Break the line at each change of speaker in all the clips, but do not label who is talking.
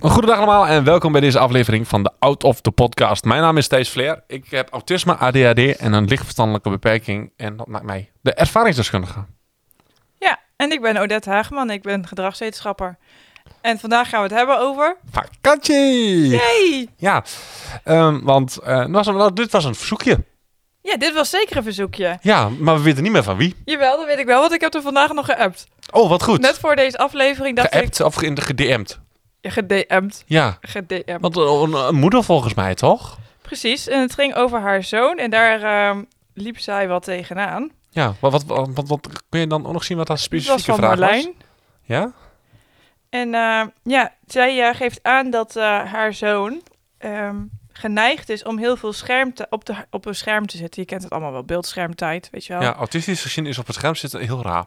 Een Goedendag allemaal en welkom bij deze aflevering van de Out of the Podcast. Mijn naam is Thijs Vleer. Ik heb autisme, ADHD en een lichtverstandelijke beperking. En dat maakt mij de ervaringsdeskundige.
Ja, en ik ben Odette Hageman. Ik ben gedragswetenschapper. En vandaag gaan we het hebben over...
Vakantie!
Hey!
Ja, ehm, want eh, het was een- nou, dit was een verzoekje.
Ja, dit was zeker een verzoekje.
Ja, maar we weten niet meer van wie.
Jawel, dat weet ik wel, want ik heb er vandaag nog geappt.
Oh, wat goed.
Net voor deze aflevering dacht ik...
Geappt of ge- gedm'd.
Ja, gedm'd.
Ja,
Gedm'd.
want eh, een, een moeder volgens mij toch?
Precies, en het ging over haar zoon. En daar ehm, liep zij wat tegenaan.
Ja, maar wat, wat, wat, wat- kun je dan ook nog zien wat haar
Het
specifieke
was van
vraag
Marlijn.
was? Ja?
En eh, ja, zij eh, geeft aan dat eh, haar zoon ehm, geneigd is om heel veel scherm te- op, de, op een scherm te zitten. Je kent het allemaal wel, beeldschermtijd, weet je wel.
ja, autistisch gezien is op het scherm zitten heel raar.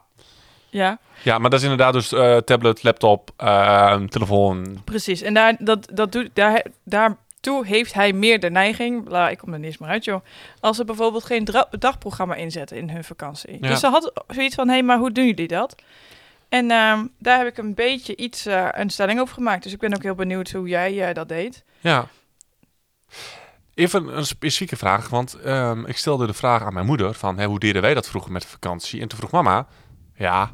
ja.
Ja, maar dat is inderdaad dus eh, tablet, laptop, eh, telefoon.
Precies, en daar, dat, dat doet, daar, daartoe heeft hij meer de neiging, bla, ik kom er niet eens meer uit joh, als ze bijvoorbeeld geen dra- dagprogramma inzetten in hun vakantie.
Ja.
Dus ze had zoiets van, hé, maar hoe doen jullie dat? En ehm, daar heb ik een beetje iets, eh, een stelling over gemaakt, dus ik ben ook heel benieuwd hoe jij eh, dat deed.
Ja. Even een specifieke vraag, want ehm, ik stelde de vraag aan mijn moeder van hè, hoe deden wij dat vroeger met vakantie? En toen vroeg mama, ja,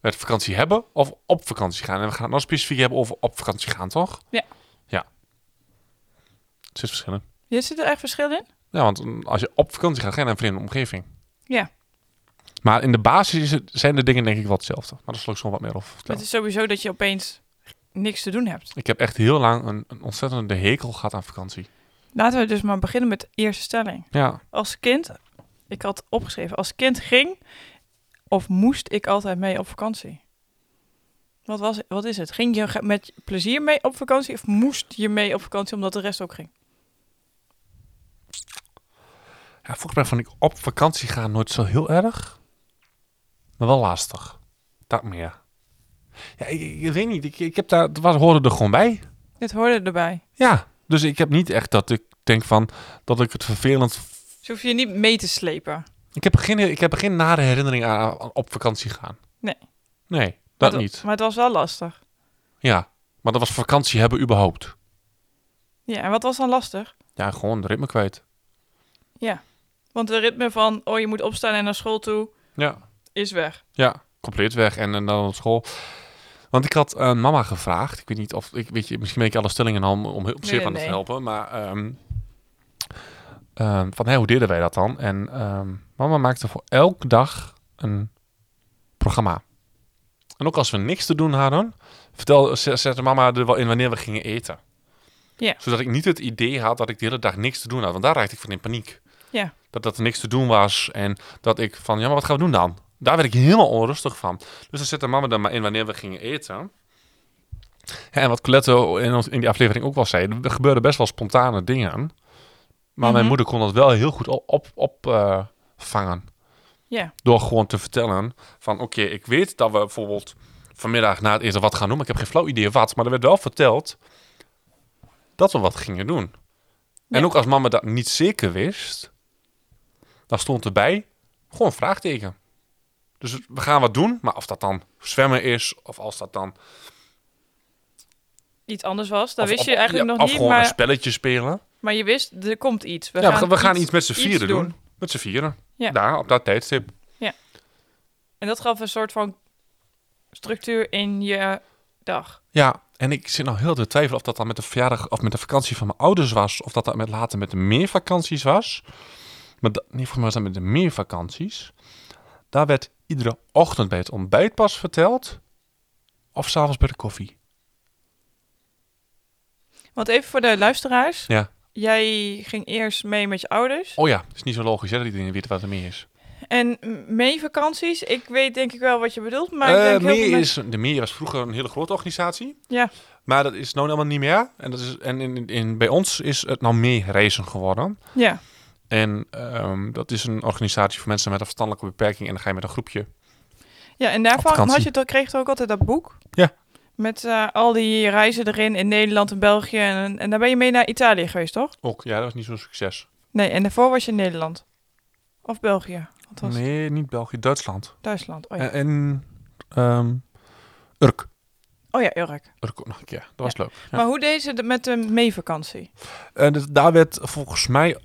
met vakantie hebben of op vakantie gaan? En we gaan het nou specifiek hebben over op vakantie gaan, toch?
Ja.
Ja. Er zit verschillen.
Ja, Zit er echt verschil in?
Ja, want mm, als je op vakantie gaat, ga je naar een vreemde omgeving.
Ja.
Maar in de basis is het- zijn de dingen denk ik wel hetzelfde. Maar daar zal ik zo wat meer over vertellen.
Het is sowieso dat je opeens niks te doen hebt.
Ik heb echt heel lang een, een ontzettende hekel gehad aan vakantie.
Laten we dus maar beginnen met de eerste stelling.
Ja.
Als kind, ik had opgeschreven, als kind ging of moest ik altijd mee op vakantie? Wat, was, wat is het? Ging je ge- met plezier mee op vakantie of moest je mee op vakantie omdat de rest ook ging?
Volgens mij vond ik op vakantie gaan nooit zo heel erg. Maar wel lastig. Dat meer. Ja, ik, ik- ik weet niet. Ik, ik heb daar, het was, hoorde er gewoon bij.
Dit hoorde erbij.
Ja. Dus ik heb niet echt dat ik denk van dat ik het vervelend. v-
Dus hoef je niet mee te slepen.
Ik heb er geen, ik heb er geen nare herinnering aan, aan op vakantie gaan.
Nee.
Nee,
Maar
dat
het-
niet.
Maar het was wel lastig.
Ja. Maar dat was vakantie hebben überhaupt.
Ja, en wat was dan lastig?
Ja, gewoon de ritme kwijt.
Want de ritme van, oh je moet opstaan en naar school toe,
Ja.
is weg.
Ja, compleet weg en, en dan op school. Want ik had eh, mama gevraagd. Ik weet niet of ik weet je, misschien ben ik alle stellingen al om, om heel- op
Nee,
zeer
nee,
aan het
nee.
helpen, maar ehm, ehm, van hey, hoe deden wij dat dan? En ehm, mama maakte voor elke dag een programma. En ook als we niks te doen hadden, vertel, ze- zette mama er wel in wanneer we gingen eten.
Ja.
Zodat ik niet het idee had dat ik de hele dag niks te doen had. Want daar raakte ik van in paniek.
Ja.
Dat, dat er niks te doen was. En dat ik van, ja, maar wat gaan we doen dan? Daar werd ik helemaal onrustig van. Dus dan zette mama er maar in wanneer we gingen eten. Ja, en wat Coletto in, ons, in die aflevering ook wel zei, er gebeurden best wel spontane dingen. Maar mijn
Mhm.
moeder kon dat wel heel goed opvangen. Op, op, eh, vangen.
Ja.
Door gewoon te vertellen van, oké, ik weet dat we bijvoorbeeld vanmiddag na het eten wat gaan doen. Maar ik heb geen flauw idee wat. Maar er werd wel verteld dat we wat gingen doen. En
Ja.
ook als mama dat niet zeker wist, dan stond erbij gewoon een vraagteken. Dus we gaan wat doen, maar of dat dan zwemmen is, of als dat dan...
Iets anders was, dat
of-
wist
of-
je eigenlijk
ja,
nog
Of
niet,
gewoon een
maar,
spelletje spelen.
maar je wist, er komt iets.
ja, we gaan, we gaan iets, met z'n
iets
vieren doen. Met z'n vieren.
Ja.
Daar, op dat tijdstip.
En dat gaf een soort van structuur in je dag.
Ja, en ik zit nou heel te twijfelen of dat dan met de verjaardag of met de vakantie van mijn ouders was. Of dat dat met later met de meervakanties was. Maar dat, nee, volgens mij was dat met de meervakanties. Daar werd iedere ochtend bij het ontbijt pas verteld. Of s'avonds bij de koffie.
Want even voor de luisteraars.
Ja.
Jij ging eerst mee met je ouders.
Oh ja, is niet zo logisch hè, dat iedereen weet wat er meer is.
En m- mee vakanties. Ik weet denk ik wel wat je bedoelt. Maar ik
Eh,
denk heel
meer
veel mensen-
is, de meer was vroeger een hele grote organisatie.
Ja.
Maar dat is nou helemaal niet meer. En, dat is, en in, in, in- bij ons is het nou meer racen geworden.
Ja,
En ehm, dat is een organisatie voor mensen met een verstandelijke beperking. En dan ga je met een groepje.
ja en
Op
daarvan
vakantie.
had je, toch- kreeg je toch ook altijd dat boek.
Ja.
Met eh, al die reizen erin in Nederland en België. En, en daar ben je mee naar Italië geweest, toch?
Ook, ja, dat was niet zo'n succes.
Nee, en daarvoor was je in Nederland. Of België. Dat was
Nee, Eh. niet België, Duitsland.
Duitsland. Oh ja,
En, en ehm, Urk.
oh, ja Urk.
Urk ook nog een keer. Dat was leuk. Ja.
Maar hoe deed ze het met de meevakantie?
En dus daar werd volgens mij...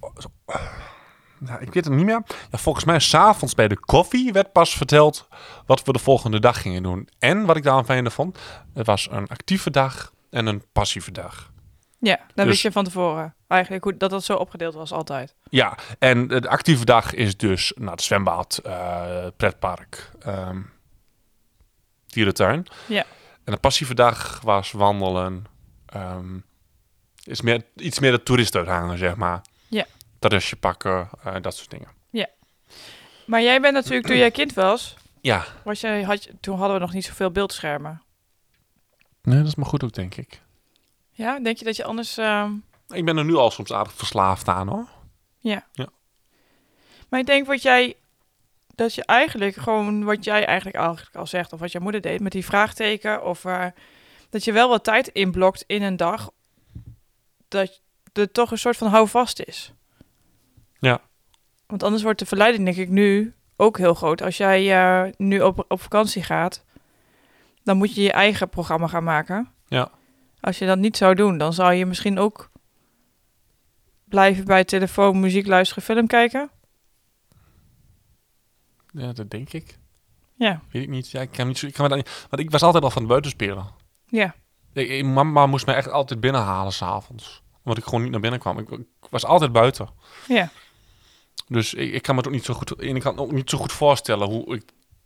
Nou, ik weet het niet meer. Ja, volgens mij s'avonds bij de koffie werd pas verteld wat we de volgende dag gingen doen. En wat ik daar aan fijne vond, het was een actieve dag en een passieve dag.
Ja, dan
Dus-
wist je van tevoren eigenlijk hoe, dat dat zo opgedeeld was altijd.
Ja, en de actieve dag is dus nou, het zwembad, eh, pretpark, ehm dierentuin.
Ja.
En de passieve dag was wandelen. ehm, is meer, iets meer de toerist uithangen, zeg maar.
Ja.
Terrasje pakken, eh, dat soort dingen.
Maar jij bent natuurlijk, toen jij kind was,
Ja,
was jij, had, je- toen hadden we nog niet zoveel beeldschermen.
nee, dat is maar goed ook, denk ik.
Ja, denk je dat je anders... ehm,
Ik ben er nu al soms aardig verslaafd aan, hoor.
Maar ik denk wat jij, dat je eigenlijk gewoon, wat jij eigenlijk, eigenlijk al zegt, of wat jouw moeder deed met die vraagteken, of eh, dat je wel wat tijd inblokt in een dag, dat er toch een soort van houvast is.
Ja.
Want anders wordt de verleiding, denk ik, nu ook heel groot. Als jij eh, nu op, op vakantie gaat, dan moet je je eigen programma gaan maken.
Ja.
Als je dat niet zou doen, dan zou je misschien ook blijven bij telefoon, muziek luisteren, film kijken.
Ja, dat denk ik.
Ja.
Weet ik niet. Ja, ik kan niet zo... Ik kan me daar niet... Want ik was altijd al van het buiten spelen.
Ja,
Ik- ik- mama moest mij echt altijd binnenhalen s'avonds. Omdat ik gewoon niet naar binnen kwam. Ik, ik was altijd buiten.
ja.
Dus ik, ik kan me het ook niet zo goed... En ik kan ook niet zo goed voorstellen hoe ik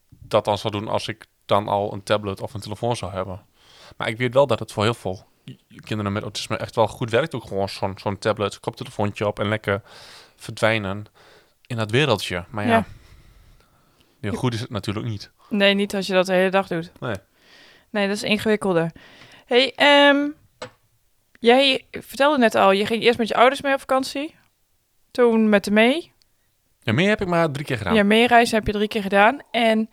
dat dan zou doen... als ik dan al een tablet of een telefoon zou hebben. Maar ik weet wel dat het voor heel veel kinderen met autisme echt wel goed werkt. Ook gewoon zo'n zo'n tablet, koptelefoontje op en lekker verdwijnen in dat wereldje. Maar ja,
Ja.
heel goed is het natuurlijk niet.
Nee, niet als je dat de hele dag doet.
Nee.
Nee, dat is ingewikkelder. hey, ehm, jij vertelde net al, je ging eerst met je ouders mee op vakantie. Toen met de mee.
Ja, meer heb ik maar drie keer
Ja,
gedaan.
ja meereizen heb je drie keer gedaan. En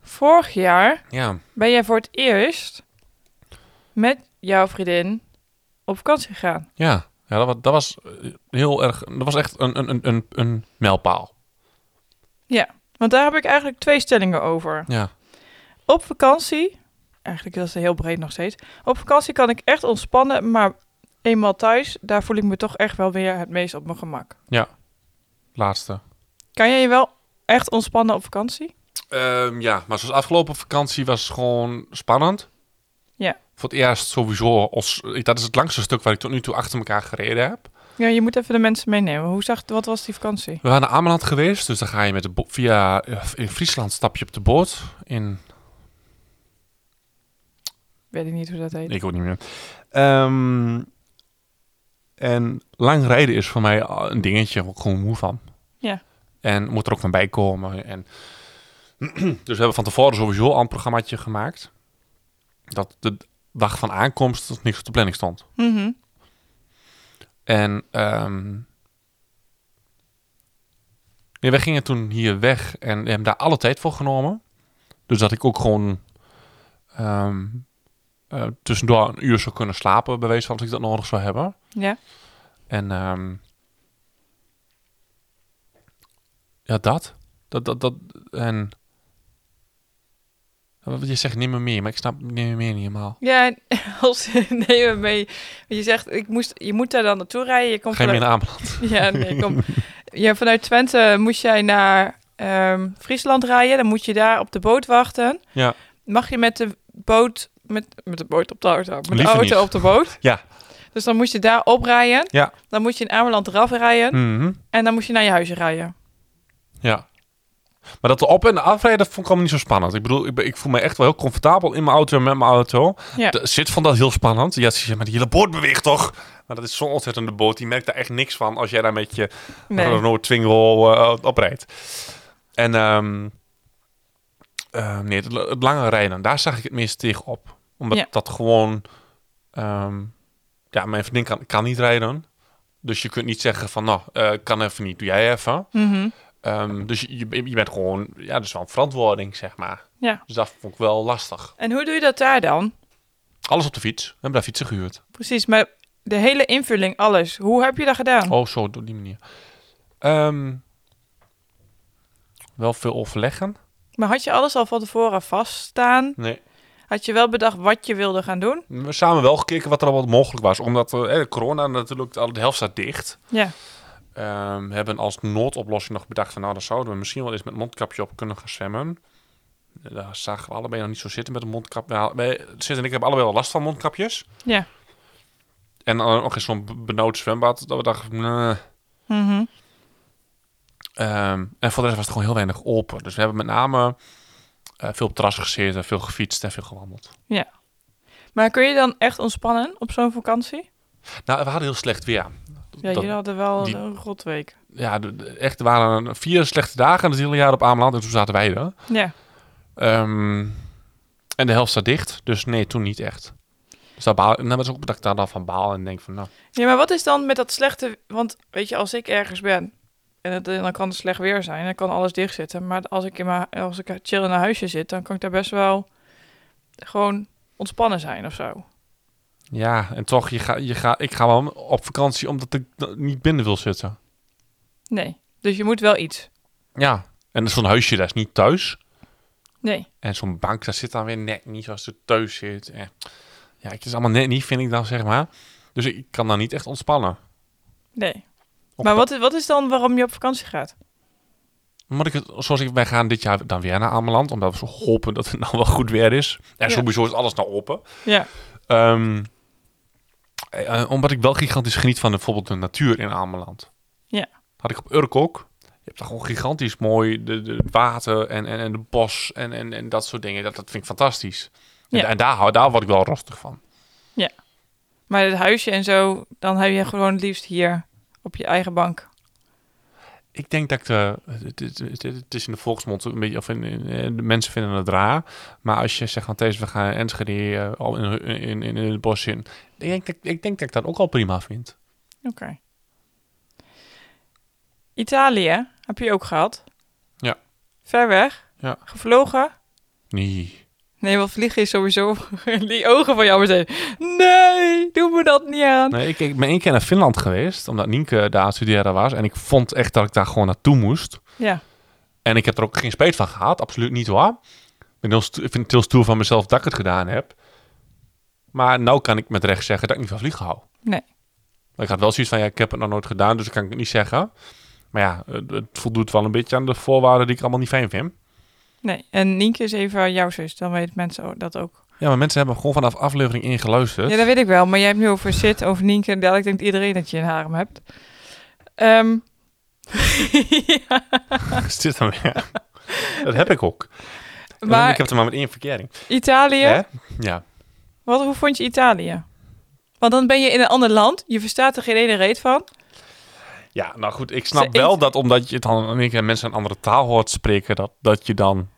vorig jaar
ja.
ben jij voor het eerst met jouw vriendin op vakantie gegaan.
Ja, ja dat, was, dat was eh, heel erg. Dat was echt een, een, een, een, een mijlpaal.
Want daar heb ik eigenlijk twee stellingen over.
Ja.
Op vakantie, eigenlijk is dat heel breed nog steeds. Op vakantie kan ik echt ontspannen, maar eenmaal thuis, daar voel ik me toch echt wel weer het meest op mijn gemak.
Laatste.
Kan jij je wel echt ontspannen op vakantie?
Ehm, ja, maar zoals afgelopen vakantie was gewoon spannend.
Ja.
Voor het eerst sowieso. Als, ik- dat is het langste stuk waar ik tot nu toe achter elkaar gereden heb.
Ja, je moet even de mensen meenemen. Hoe zag, wat was die vakantie?
We waren naar Ameland geweest, dus dan ga je met de bo- via eh, in Friesland stap je op de boot. In,
Weet ik niet hoe dat heet.
ik ook niet meer. Ehm, en lang rijden is voor mij al een dingetje, daar word ik gewoon moe van.
Ja.
En moet er ook van bij komen. En dus we hebben van tevoren sowieso al een programmaatje gemaakt. Dat de dag van aankomst dat niks op de planning stond.
Mhm.
En ehm nee, wij gingen toen hier weg en hebben daar alle tijd voor genomen. Dus dat ik ook gewoon ehm, eh, tussendoor een uur zou kunnen slapen, bij wijze van als ik dat nodig zou hebben.
Ja.
En ehm, ja, dat. Dat, dat, dat. En wat je zegt, neem me meer, maar ik snap neem me meer niet helemaal.
Ja, als neem me mee. Want Je zegt, ik moest, je moet daar dan naartoe rijden. Je komt
Geen meer
vanuit,
naar Ameland.
ja, nee, kom. ja, vanuit Twente moest jij naar ehm, Friesland rijden. Dan moet je daar op de boot wachten.
Ja.
Mag je met de boot, met, met de boot op de auto, met de
Liever
auto
niet.
op de boot?
Ja.
Dus dan moest je daar oprijden.
Ja.
Dan moest je in Ameland eraf rijden.
Mhm.
En dan moest je naar je huisje rijden.
Ja. Maar dat de op- en de afrijden, dat vond ik allemaal niet zo spannend. Ik bedoel, ik, ben- ik voel me echt wel heel comfortabel in mijn auto en met mijn auto.
Ja.
De zit vond dat heel spannend. Ja, ze zei, maar die hele boot beweegt toch? Maar dat is zo'n ontzettende boot. Die merkt daar echt niks van als jij daar met je
Nee.
Renault Twingo eh, oprijdt. En ehm, eh, nee, het, het lange rijden, daar zag ik het meest tegen op. Omdat
Ja.
dat gewoon Ehm, ja, mijn vriendin kan, kan niet rijden. Dus je kunt niet zeggen van, nou, eh, kan even niet, doe jij even.
Mhm.
Ehm, dus je, je je bent gewoon, ja, dus wel een verantwoording, zeg maar.
Ja.
Dus dat vond ik wel lastig.
En hoe doe je dat daar dan?
Alles op de fiets. We hebben daar fietsen gehuurd.
Precies, maar de hele invulling, alles. Hoe heb je dat gedaan?
Oh, zo, op die manier. Ehm, wel veel overleggen.
Maar had je alles al van tevoren vaststaan?
Nee.
Had je wel bedacht wat je wilde gaan doen?
We hebben samen wel gekeken wat er allemaal mogelijk was. Omdat eh, eh, corona natuurlijk, al de helft staat dicht.
Ja.
Ehm, we hebben als noodoplossing nog bedacht van... nou, dan zouden we misschien wel eens met mondkapje op kunnen gaan zwemmen. Eh, Daar zagen we allebei nog niet zo zitten met een mondkapje. Nou, wij- Sid en ik hebben allebei wel last van mondkapjes.
Ja.
En dan ook eens zo'n b- benauwd zwembad. Dat we dachten, nee.
Mhm.
Ehm, en voor de rest was het gewoon heel weinig open. Dus we hebben met name eh, veel op het terras gezeten, veel gefietst en veel gewandeld.
Maar kun je dan echt ontspannen op zo'n vakantie?
Nou, we hadden heel slecht weer.
Ja,
Dat-
jullie hadden wel
die-
een rotweek.
Ja, de- de- echt, er waren vier slechte dagen het hele jaar op Ameland. En toen zaten wij er.
Ja.
Ehm, en de helft staat dicht. Dus nee, toen niet echt. Dus daar baal, en dan was ook dat ik daar dan van baal en denk van, nou...
Ja, maar wat is dan met dat slechte... Want weet je, als ik ergens ben... En het, dan kan het slecht weer zijn, dan kan alles dicht zitten. Maar als ik, in mijn, als ik chill in een huisje zit, dan kan ik daar best wel gewoon ontspannen zijn of zo.
Ja, en toch, je ga, je ga, ik ga wel op vakantie omdat ik eh, niet binnen wil zitten.
Nee. Dus je moet wel iets.
Ja, en zo'n huisje, dat is niet thuis.
Nee.
En zo'n bank, daar zit dan weer net niet zoals het thuis zit. En ja, het is allemaal net niet, vind ik dan, zeg maar. Dus ik kan dan niet echt ontspannen.
Nee.
Op-
Maar wat is, wat is dan waarom je op vakantie gaat?
Omdat ik het, zoals ik, wij gaan dit jaar dan weer naar Ameland. Omdat we zo hopen dat het nou wel goed weer is. En
Ja.
sowieso is alles nou open.
Ja.
Ehm, eh, omdat ik wel gigantisch geniet van de- bijvoorbeeld de natuur in Ameland.
Ja.
Had ik op Urk ook. Je hebt daar gewoon gigantisch mooi de, de het water en, en, en de bos en, en, en dat soort dingen. Dat, dat vind ik fantastisch. En,
Ja.
en daar, hou- daar word ik wel rustig van.
Maar het huisje en zo, dan heb je gewoon het liefst hier op je eigen bank.
Ik denk dat ik de, het, het- het- het is in de volksmond een beetje, of in, in- eh, de mensen vinden het raar. Maar als je zegt van deze, we gaan Enschede eh, al in, in, in, in het bos in. Ik denk, dat, ik denk dat ik dat ook al prima vind.
Oké. Italië heb je ook gehad.
Ja.
Ver weg.
Ja.
Gevlogen.
Nee.
Nee, want vliegen is sowieso die ogen van jou meteen. Nee, doe me dat niet aan.
nee ik, ik ben één keer naar Finland geweest, omdat Nienke daar aan het studeren was. En ik vond echt dat ik daar gewoon naartoe moest.
Ja.
En ik heb er ook geen spijt van gehad, absoluut niet hoor. Ik, ben heel sto- ik vind het heel stoer van mezelf dat ik het gedaan heb. Maar nou kan ik met recht zeggen dat ik niet van vliegen hou.
Nee.
Maar ik had wel zoiets van, ja, ik heb het nog nooit gedaan, dus kan ik het niet zeggen. Maar ja, het, het voldoet wel een beetje aan de voorwaarden die ik allemaal niet fijn vind.
Nee. En Nienke is even jouw zus. Dan weten mensen ook- dat ook.
Ja, maar mensen hebben gewoon vanaf aflevering 1 geluisterd.
Ja, dat weet ik wel. Maar jij hebt nu over Sid, over Nienke. En dadelijk denkt iedereen dat je een harem hebt. Ehm. ja,
is Dus dit dan weer? dat heb ik ook. Maar... Ik
maar
heb er maar met één verkering.
Italië.
Hè? Ja.
Wat, hoe vond je Italië? Want dan ben je in een ander land, je verstaat er geen ene reet van.
Ja, nou goed, ik
Ze
snap
eet-
wel dat omdat je dan in één keer mensen een andere taal hoort spreken, dat, dat je dan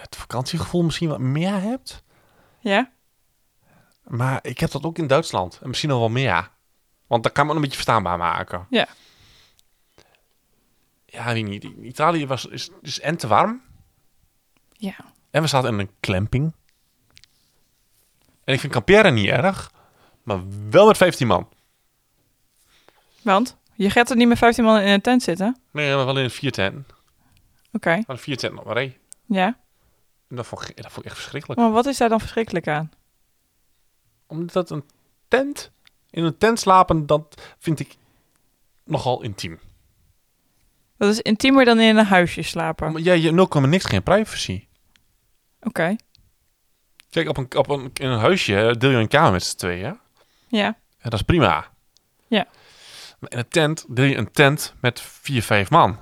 het vakantiegevoel misschien wat meer hebt.
Ja,
Maar ik heb dat ook in Duitsland en misschien nog wel meer. Want dat kan me een beetje verstaanbaar maken.
Ja.
Ja, weet niet. In Italië was, is, is en te warm
ja.
en we zaten in een camping. En ik vind kamperen niet erg, maar wel met 15 man.
Want je gaat er niet met 15 man in een tent zitten. Oké,
Nee, maar wel in een viertent. We hadden vier tent nog maar één.
ja.
En dat vond, ik, dat vond ik echt verschrikkelijk.
Maar wat is daar dan verschrikkelijk aan?
Omdat een tent, in een tent slapen, dat vind ik nogal intiem.
Dat is intiemer dan in een huisje slapen. Oké.
Maar jij, je nul kan me niks, geen privacy. Kijk, op een, op een, in een huisje eh, deel je een kamer met z'n tweeën.
Ja,
En dat is prima.
Ja.
Maar in een tent deel je een tent met vier, vijf man.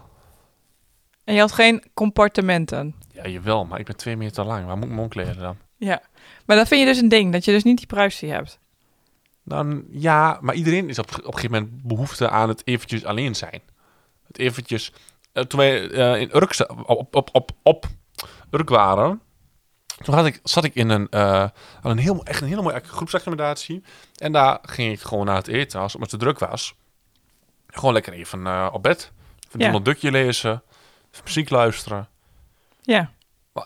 en je had geen compartimenten.
Ja, jawel, maar ik ben twee meter lang. Waar moet ik me omkleden dan?
Ja. Maar dat vind je dus een ding, dat je dus niet die privacy hebt.
Dan ja, maar iedereen is op, op een gegeven moment behoefte aan het eventjes alleen zijn. Het eventjes. eh, toen wij eh, in Urk, za- op, op, op, op Urk waren, Toen had ik, zat ik in een, eh, aan een heel, echt een hele mooie groepsaccommodatie. En daar ging ik gewoon na het eten, als het maar te druk was. Gewoon lekker even eh, op bed. Even
Ja.
Donald Duckje lezen. Even muziek luisteren.
Ja.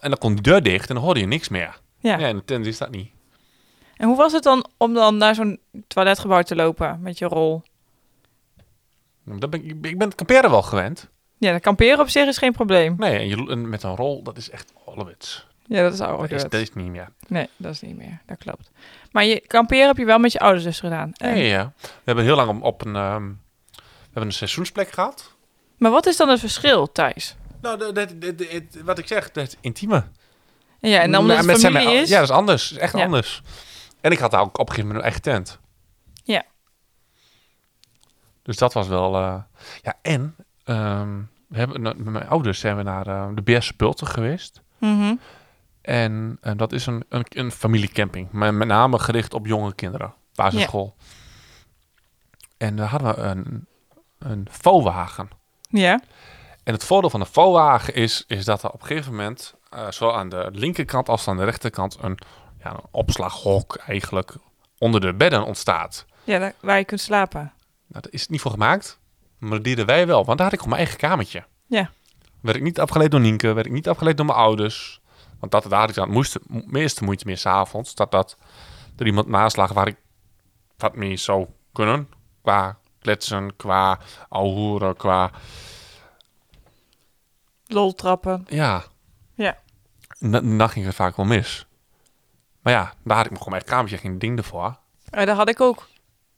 En dan kon de deur dicht en dan hoorde je niks meer.
ja.
Ja, in de tent is dat niet.
En hoe was het dan om dan naar zo'n toiletgebouw te lopen met je rol?
Dat Nou, ben ik, ik ben- ik ben het kamperen wel gewend.
Ja, dat kamperen op zich is geen probleem.
Nee, en je, en met een rol, dat is echt ouderwets.
Ja, Oh, dat is ouder.
Dat is, dat is niet meer.
Nee, dat is niet meer. Dat klopt. Maar je kamperen heb je wel met je ouders dus gedaan. En-
Nee, ja. We hebben heel lang op, op een, ehm, we hebben een seizoensplek gehad.
Maar wat is dan het verschil, Thijs?
Nou, dat, dat- dat- dat- wat ik zeg, dat intieme.
En Ja, en dan
Nou,
omdat
met
het
zijn
familie
mijn-
is...
Ja, dat is anders. Dat is echt
Ja.
anders. En ik had daar ook op een gegeven moment een eigen tent.
Ja.
Dus dat was wel... eh, ja, en ehm, we hebben, met mijn ouders zijn we naar eh, de Beerse Bulten geweest.
Mhm.
En eh, dat is een, een, een familiecamping. Met, met name gericht op jonge kinderen. Basisschool. En daar hadden we een, een vouwwagen.
Ja,
En het voordeel van een vouwwagen is, is dat er op een gegeven moment... eh, zowel aan de linkerkant als aan de rechterkant... een, ja, een opslaghok eigenlijk onder de bedden ontstaat.
ja daar- waar je kunt slapen.
Nou, daar is het niet voor gemaakt. Maar dat deden wij wel. Want daar had ik gewoon mijn eigen kamertje.
Ja.
Werd ik niet afgeleid door Nienke. Werd ik niet afgeleid door mijn ouders. Want dat, daar had ik dan moeiste, mo- meeste moeite mee s'avonds. Dat, dat er iemand naast lag waar ik wat mee zou kunnen. Qua kletsen, qua ouwehoeren, qua...
Loltrappen.
Ja.
Ja.
En da- dan ging het vaak wel mis. Maar ja, daar had ik me gewoon mijn eigen kamertje. Geen ding ervoor.
Eh, dat had ik ook.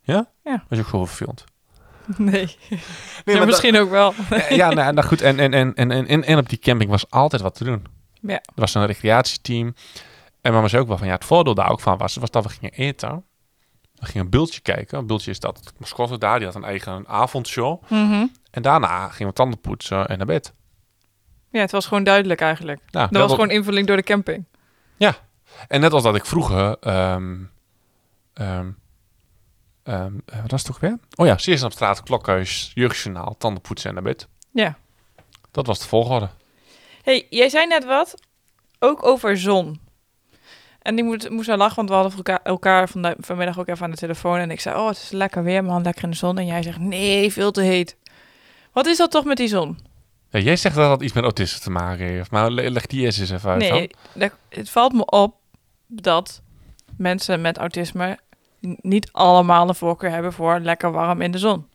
Ja?
Ja.
Was je ook zo vervelend?
Nee,
Nee,
Ja, misschien ook wel.
ja, nou, nou goed. En, en, en, en, en, en, en op die camping was altijd wat te doen.
Ja.
Er was een recreatieteam. En mama zei ook wel van, ja, het voordeel daar ook van was, was dat we gingen eten. We gingen een bultje kijken. Een bultje is dat mascotte daar, die had een eigen avondshow.
Mhm.
En daarna gingen we tanden poetsen en naar bed.
Ja, het was gewoon duidelijk eigenlijk.
Nou,
Dat was gewoon invulling door de camping.
En net als dat ik vroeger... ehm ehm ehm, eh, wat was het toch weer? Oh ja, Seers op straat, klokhuis, jeugdjournaal, tanden poetsen en naar bed.
Ja.
Dat was de volgorde.
hey, jij zei net wat, ook over zon. En ik moet, moest aan lachen, want we hadden elkaar, elkaar vanda- vanmiddag ook even aan de telefoon. En ik zei, oh, het is lekker weer, man, lekker in de zon. En jij zegt, nee, veel te heet. Wat is dat toch met die zon?
Ja, jij zegt dat dat iets met autisme te maken heeft. Maar le- leg die eerst eens even uit dan.
Nee, dat- het valt me op dat mensen met autisme n- niet allemaal een voorkeur hebben voor lekker warm in de zon.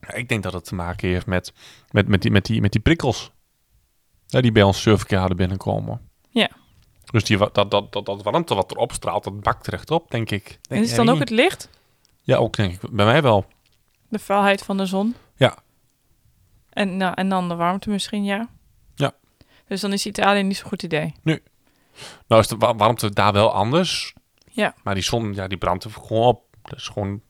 Ja, ik denk dat het te maken heeft met, met, met, die, met, die, met die prikkels. Ja, die bij ons surfcare hadden binnenkomen.
Ja.
Dus die, wa- dat, dat, dat, dat warmte wat erop straalt, dat bakt rechtop, denk ik. Denk
En is
jij
het dan ook
niet?
het licht?
Ja, ook denk ik. Bij mij wel.
De vuilheid van de zon.
Ja.
En, nou, en dan de warmte misschien, ja.
Ja.
Dus dan is Italië niet zo'n goed idee.
Nou is de wa- warmte daar wel anders.
Ja.
Maar die zon, ja, die brandt er gewoon op. Dat is gewoon...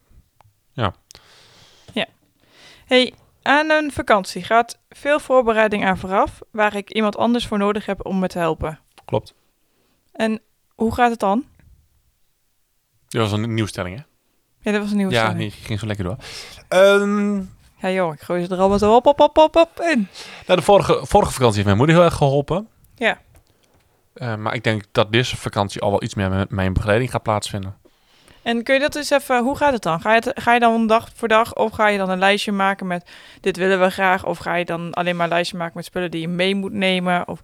hey, aan een vakantie gaat veel voorbereiding aan vooraf... waar ik iemand anders voor nodig heb om me te helpen.
Klopt.
En hoe gaat het dan?
Dat was een nieuwstelling, hè?
Ja, dat was een nieuwe
ja,
stelling.
nee, ging zo lekker door. Ehm
Ja joh, ik gooi ze er allemaal zo op, op, op, op, op in.
Nou, de vorige, vorige vakantie heeft mijn moeder heel erg geholpen.
Ja.
Eh, maar ik denk dat deze vakantie al wel iets meer met mijn begeleiding gaat plaatsvinden.
En kun je dat eens even, hoe gaat het dan? Ga je, het- ga je dan dag voor dag of ga je dan een lijstje maken met dit willen we graag? Of ga je dan alleen maar een lijstje maken met spullen die je mee moet nemen? Of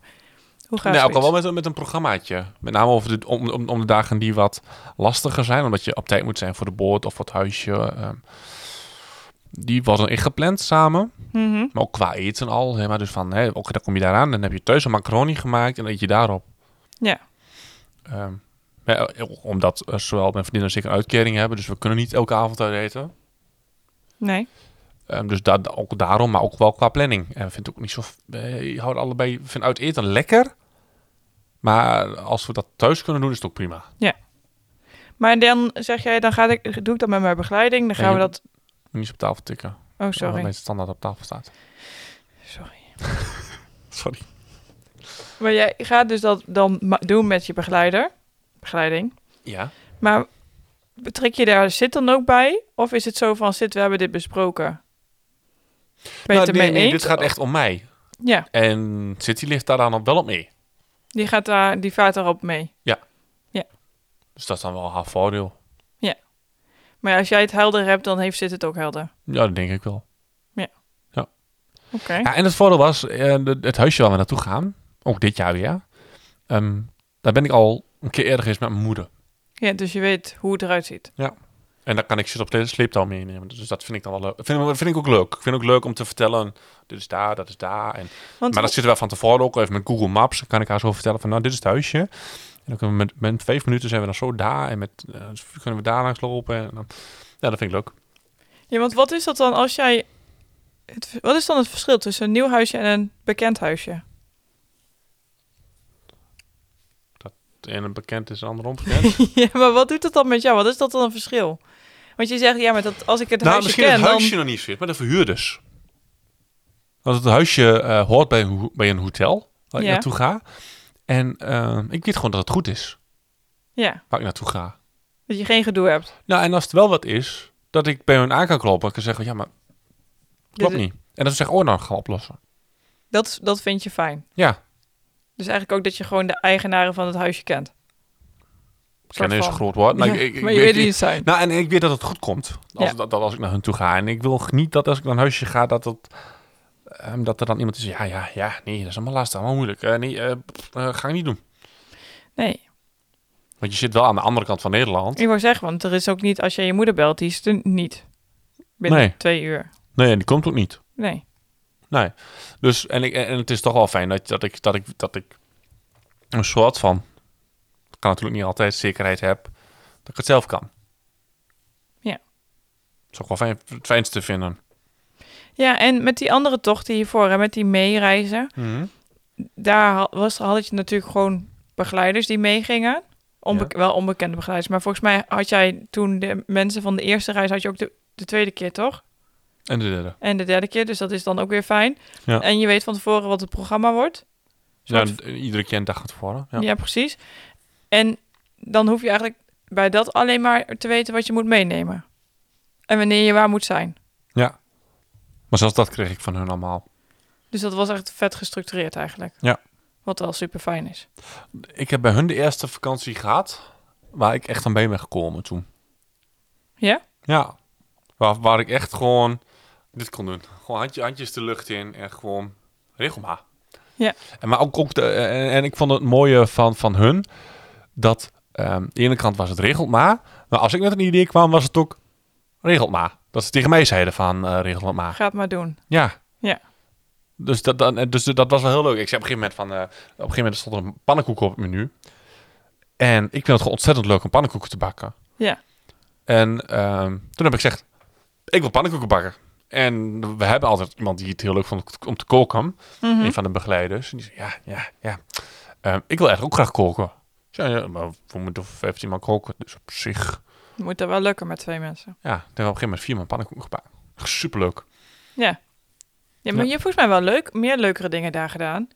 hoe gaat
nee, ook
het?
al Nou, wel met, een- met een programmaatje. Met name over de, om, om, om de dagen die wat lastiger zijn. Omdat je op tijd moet zijn voor de boord of voor het huisje. ehm. die was er ingepland samen.
Mhm,
Maar ook qua eten al. Hè, maar dus van, hè, ook dan kom je daaraan. Dan heb je thuis een macaroni gemaakt en dan eet je daarop.
Ja.
Ehm, ja, omdat eh, zowel mijn vriendin als ik een uitkering hebben. Dus we kunnen niet elke avond uit eten.
Nee.
Ehm, dus da da- ook daarom, maar ook wel qua planning. En vind ik ook niet zo. eh, Je houdt allebei. Vind uit eten lekker. Maar als we dat thuis kunnen doen, is het ook prima.
Maar dan zeg jij, dan ga ik, doe ik dat met mijn begeleiding. Dan
Ja,
gaan we
je-
dat...
Niet eens op tafel tikken.
Oh,
Omdat
sorry.
het standaard op tafel staat.
Sorry.
Sorry.
Maar jij gaat dus dat dan ma- doen met je begeleider. Begeleiding.
Ja.
Maar betrek je daar zit dan ook bij? Of is het zo van zit, we hebben dit besproken? Ben je het ermee
Nou, nee, nee,
eens?
dit gaat echt om mij.
Ja,
En City ligt daar dan wel op mee.
Die, gaat daar, die vaart daarop mee.
Dus dat is dan wel haar voordeel.
Maar ja, als jij het helder hebt, dan heeft zit het ook helder.
Ja, dat denk ik wel.
Oké.
Ja, en het voordeel was, eh, de- het huisje waar we naartoe gaan, ook dit jaar weer, ehm, daar ben ik al een keer eerder geweest met mijn moeder.
Ja, dus je weet hoe het eruit ziet.
En daar kan ik zit op de sleeptouw meenemen. Dus dat vind ik dan wel leuk. Vind, vind ik ook leuk. Ik vind ook leuk om te vertellen, dit is daar, dat is daar. En,
Want
maar dat zit er wel van tevoren ook even met Google Maps. Dan kan ik haar zo vertellen van, nou, dit is het huisje. En dan kunnen we met, met vijf minuten zijn we dan zo daar. En met, eh, dus kunnen we daar langs lopen. En dan, ja, dat vind ik leuk.
Ja, want wat is dat dan als jij... Het, wat is dan het verschil tussen een nieuw huisje en een bekend huisje?
Het ene bekend is het andere onbekend. Nou,
ja, maar wat doet dat dan met jou? Wat is dat dan een verschil? Want je zegt, ja, maar dat, als ik het
nou,
huisje
misschien
ken,
het huisje
dan...
nog niet fit, maar de verhuurders. Als het huisje eh, hoort bij, een ho- bij een hotel waar ik
Ja.
naartoe ga. En eh, ik weet gewoon dat het goed is
Ja,
waar ik naartoe ga.
dat je geen gedoe hebt.
Nou, en als het wel wat is, dat ik bij hun aan kan kloppen. Ik kan zeggen, ja, maar klopt
Dit-
niet. En dat ze zeggen, oh, nou, gaan we oplossen.
Dus Dat, dat vind je fijn.
Ja,
Dus eigenlijk ook dat je gewoon de eigenaren van het huisje kent. Soort
kennen is
van.
een groot woord. Maar,
Ja,
Nou, ik, ik,
maar
ik
je
weet-
weet wie het zijn.
Nou, en ik weet dat het goed komt. Als,
Ja.
dat, dat als ik naar hun toe ga. En ik wil niet dat als ik naar een huisje ga, dat, dat, ehm, dat er dan iemand is. Ja, ja, ja, nee, dat is allemaal lastig, allemaal moeilijk. Eh, nee, eh, pff, eh, ga ik niet doen.
Nee,
Want je zit wel aan de andere kant van Nederland.
ik wou zeggen, want er is ook niet... Als jij je moeder belt, die is er niet. Binnen
Nee.
twee uur.
Nee, en die komt ook niet.
Nee.
Nee. Dus, en, ik, en het is toch wel fijn dat, dat, ik, dat, ik, dat ik een soort van, ik kan natuurlijk niet altijd zekerheid heb, dat ik het zelf kan.
Ja.
Dat is ook wel fijn, het fijnste vinden.
Ja, en met die andere tochten hiervoor, hè, met die meereizen... daar ha- was, had je natuurlijk gewoon begeleiders die meegingen. Onbe- Wel onbekende begeleiders. Maar volgens mij had jij toen de mensen van de eerste reis... had je ook de, de tweede keer, toch?
En de derde.
En de derde keer, dus dat is dan ook weer fijn.
Ja.
En je weet van tevoren wat het programma wordt.
Ja,
Soort-
en iedere keer een dag van tevoren. Ja.
ja. precies. En dan hoef je eigenlijk bij dat alleen maar te weten wat je moet meenemen. En wanneer je waar moet zijn.
Maar zelfs dat kreeg ik van hun allemaal.
Dus dat was echt vet gestructureerd eigenlijk.
Ja.
Wat wel super fijn is.
Ik heb bij hun de eerste vakantie gehad, waar ik echt aan bij ben gekomen toen.
Ja?
Ja. Waar, waar ik echt gewoon dit kon doen. Gewoon handje, handjes de lucht in en gewoon regel maar.
Ja.
En, maar ook, ook de, eh, en, en ik vond het mooie van, van hun dat ehm, aan de ene kant was het regelt maar. Maar als ik met een idee kwam, was het ook regelt maar. Dat ze tegen mij zeiden van eh regel het maar.
Ga het maar doen.
Ja.
Ja.
Dus dat, dan, dus dat was wel heel leuk. Ik zei op een gegeven moment van... eh, op een gegeven moment stond er een pannenkoek op het menu. En ik vind het gewoon ontzettend leuk om pannenkoeken te bakken.
Ja.
En ehm, toen heb ik gezegd... Ik wil pannenkoeken bakken. En we hebben altijd iemand die het heel leuk vond om te koken.
Mhm.
Een van de begeleiders. En die zei, ja, ja, ja. Ehm, ik wil eigenlijk ook graag koken. Ik zei, ja, maar we moeten 15 man koken. Dus op zich...
Moet dat wel lukken met twee mensen.
Ja, toen hebben we op een gegeven moment vier man pannenkoeken gebakken. Superleuk.
Ja. Ja, maar
Ja.
je hebt volgens mij wel leuk, meer leukere dingen daar gedaan.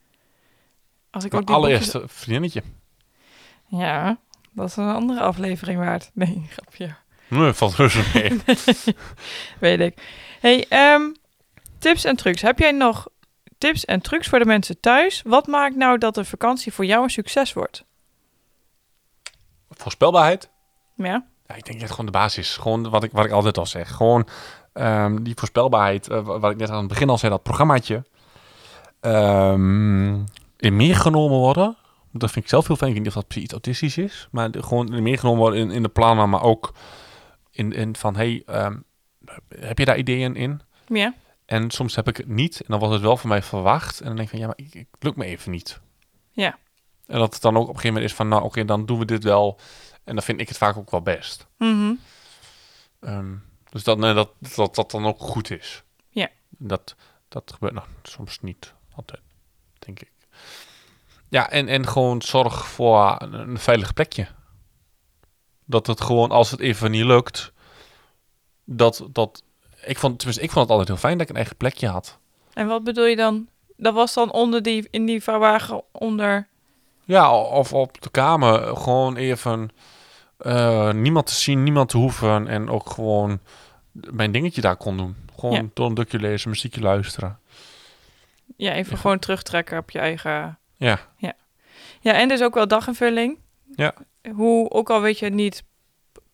Als ik
Mijn
ook die
allereerste vriendinnetje.
boekjes- Ja, dat is een andere aflevering waard. Nee, grapje.
Nee, valt reuze mee.
Weet ik. Hey, ehm, tips en trucs. Heb jij nog tips en trucs voor de mensen thuis? Wat maakt nou dat een vakantie voor jou een succes wordt?
Voorspelbaarheid?
Ja,
Ja, ik denk dat gewoon de basis. is. Gewoon wat ik, wat ik altijd al zeg. Gewoon ehm, die voorspelbaarheid, eh, wa- wat ik net aan het begin al zei, dat programmaatje. Ehm, in meegenomen worden. Dat vind ik zelf heel fijn. Ik weet niet of dat precies iets autistisch is. Maar de- gewoon in meegenomen worden in, in de plannen, maar ook in, in van, hey, ehm, heb je daar ideeën in?
ja,
En soms heb ik het niet. En dan was het wel van mij verwacht. En dan denk ik van, ja, maar ik, ik het lukt me even niet.
Ja.
En dat het dan ook op een gegeven moment is van, nou oké, dan doen we dit wel. En dan vind ik het vaak ook wel best.
Mhm.
Ehm, dus dat, nee, dat, dat dat dan ook goed is.
Ja.
Dat, dat gebeurt nou, soms niet altijd, denk ik. Ja, en, en gewoon zorg voor een, een veilig plekje. Dat het gewoon, als het even niet lukt, dat, dat ik vond, tenminste, ik vond het altijd heel fijn dat ik een eigen plekje had.
En wat bedoel je dan? Dat was dan onder die, in die vaarwagen onder...
Ja, o- of op de kamer gewoon even eh, niemand te zien, niemand te hoeven. En ook gewoon mijn dingetje daar kon doen. Gewoon
Ja.
door een dukje lezen, muziekje luisteren.
Ja, even
Ja.
gewoon terugtrekken op je eigen...
Ja.
Ja, Ja, en dus ook wel daginvulling.
Ja.
Hoe, ook al weet je het niet,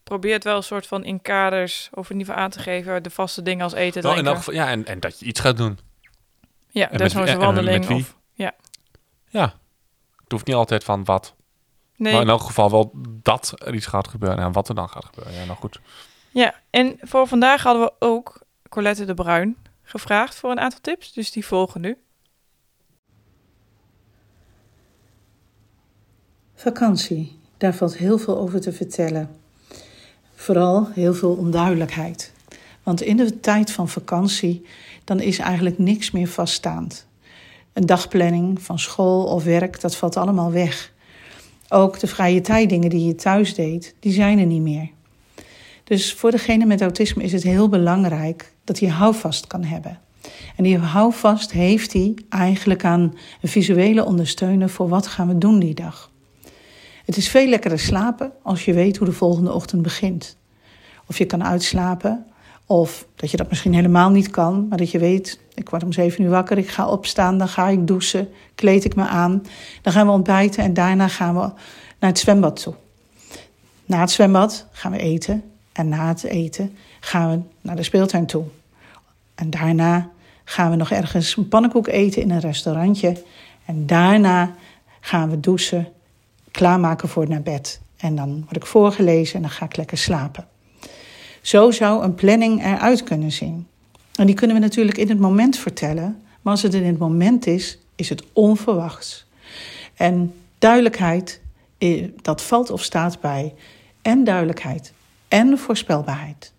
probeert wel een soort van in kaders, of in ieder geval aan te geven, de vaste dingen als eten,
Wel, in elk
drinken.
geval, ja, en, en dat je iets gaat doen.
Ja,
en
dus
met wie-
zo'n
en- en met
wandeling.
wie.
Of,
Ja. Het hoeft niet altijd van wat. Maar
nee.
nou- in elk geval wel dat er iets gaat gebeuren en wat er dan gaat gebeuren. Ja, nou goed.
Ja, en voor vandaag hadden we ook Colette de Bruin gevraagd voor een aantal tips. Dus die volgen nu.
Vakantie, daar valt heel veel over te vertellen. Vooral heel veel onduidelijkheid. Want in de tijd van vakantie, dan is eigenlijk niks meer vaststaand. Een dagplanning van school of werk, dat valt allemaal weg. Ook de vrije tijddingen die je thuis deed, die zijn er niet meer. Dus voor degene met autisme is het heel belangrijk dat hij houvast kan hebben. En die houvast heeft hij eigenlijk aan een visuele ondersteuner voor wat gaan we doen die dag. Het is veel lekkerder slapen als je weet hoe de volgende ochtend begint. Of je kan uitslapen, of dat je dat misschien helemaal niet kan, maar dat je weet: ik word om zeven uur wakker, ik ga opstaan, dan ga ik douchen, kleed ik me aan, dan gaan we ontbijten en daarna gaan we naar het zwembad toe. Na het zwembad gaan we eten en na het eten gaan we naar de speeltuin toe. En daarna gaan we nog ergens een pannenkoek eten in een restaurantje. En daarna gaan we douchen, klaarmaken voor naar bed. En dan word ik voorgelezen en dan ga ik lekker slapen. Zo zou een planning eruit kunnen zien. En die kunnen we natuurlijk in het moment vertellen. Maar als het in het moment is, is het onverwachts. En duidelijkheid, eh, dat valt of staat bij. En duidelijkheid en voorspelbaarheid.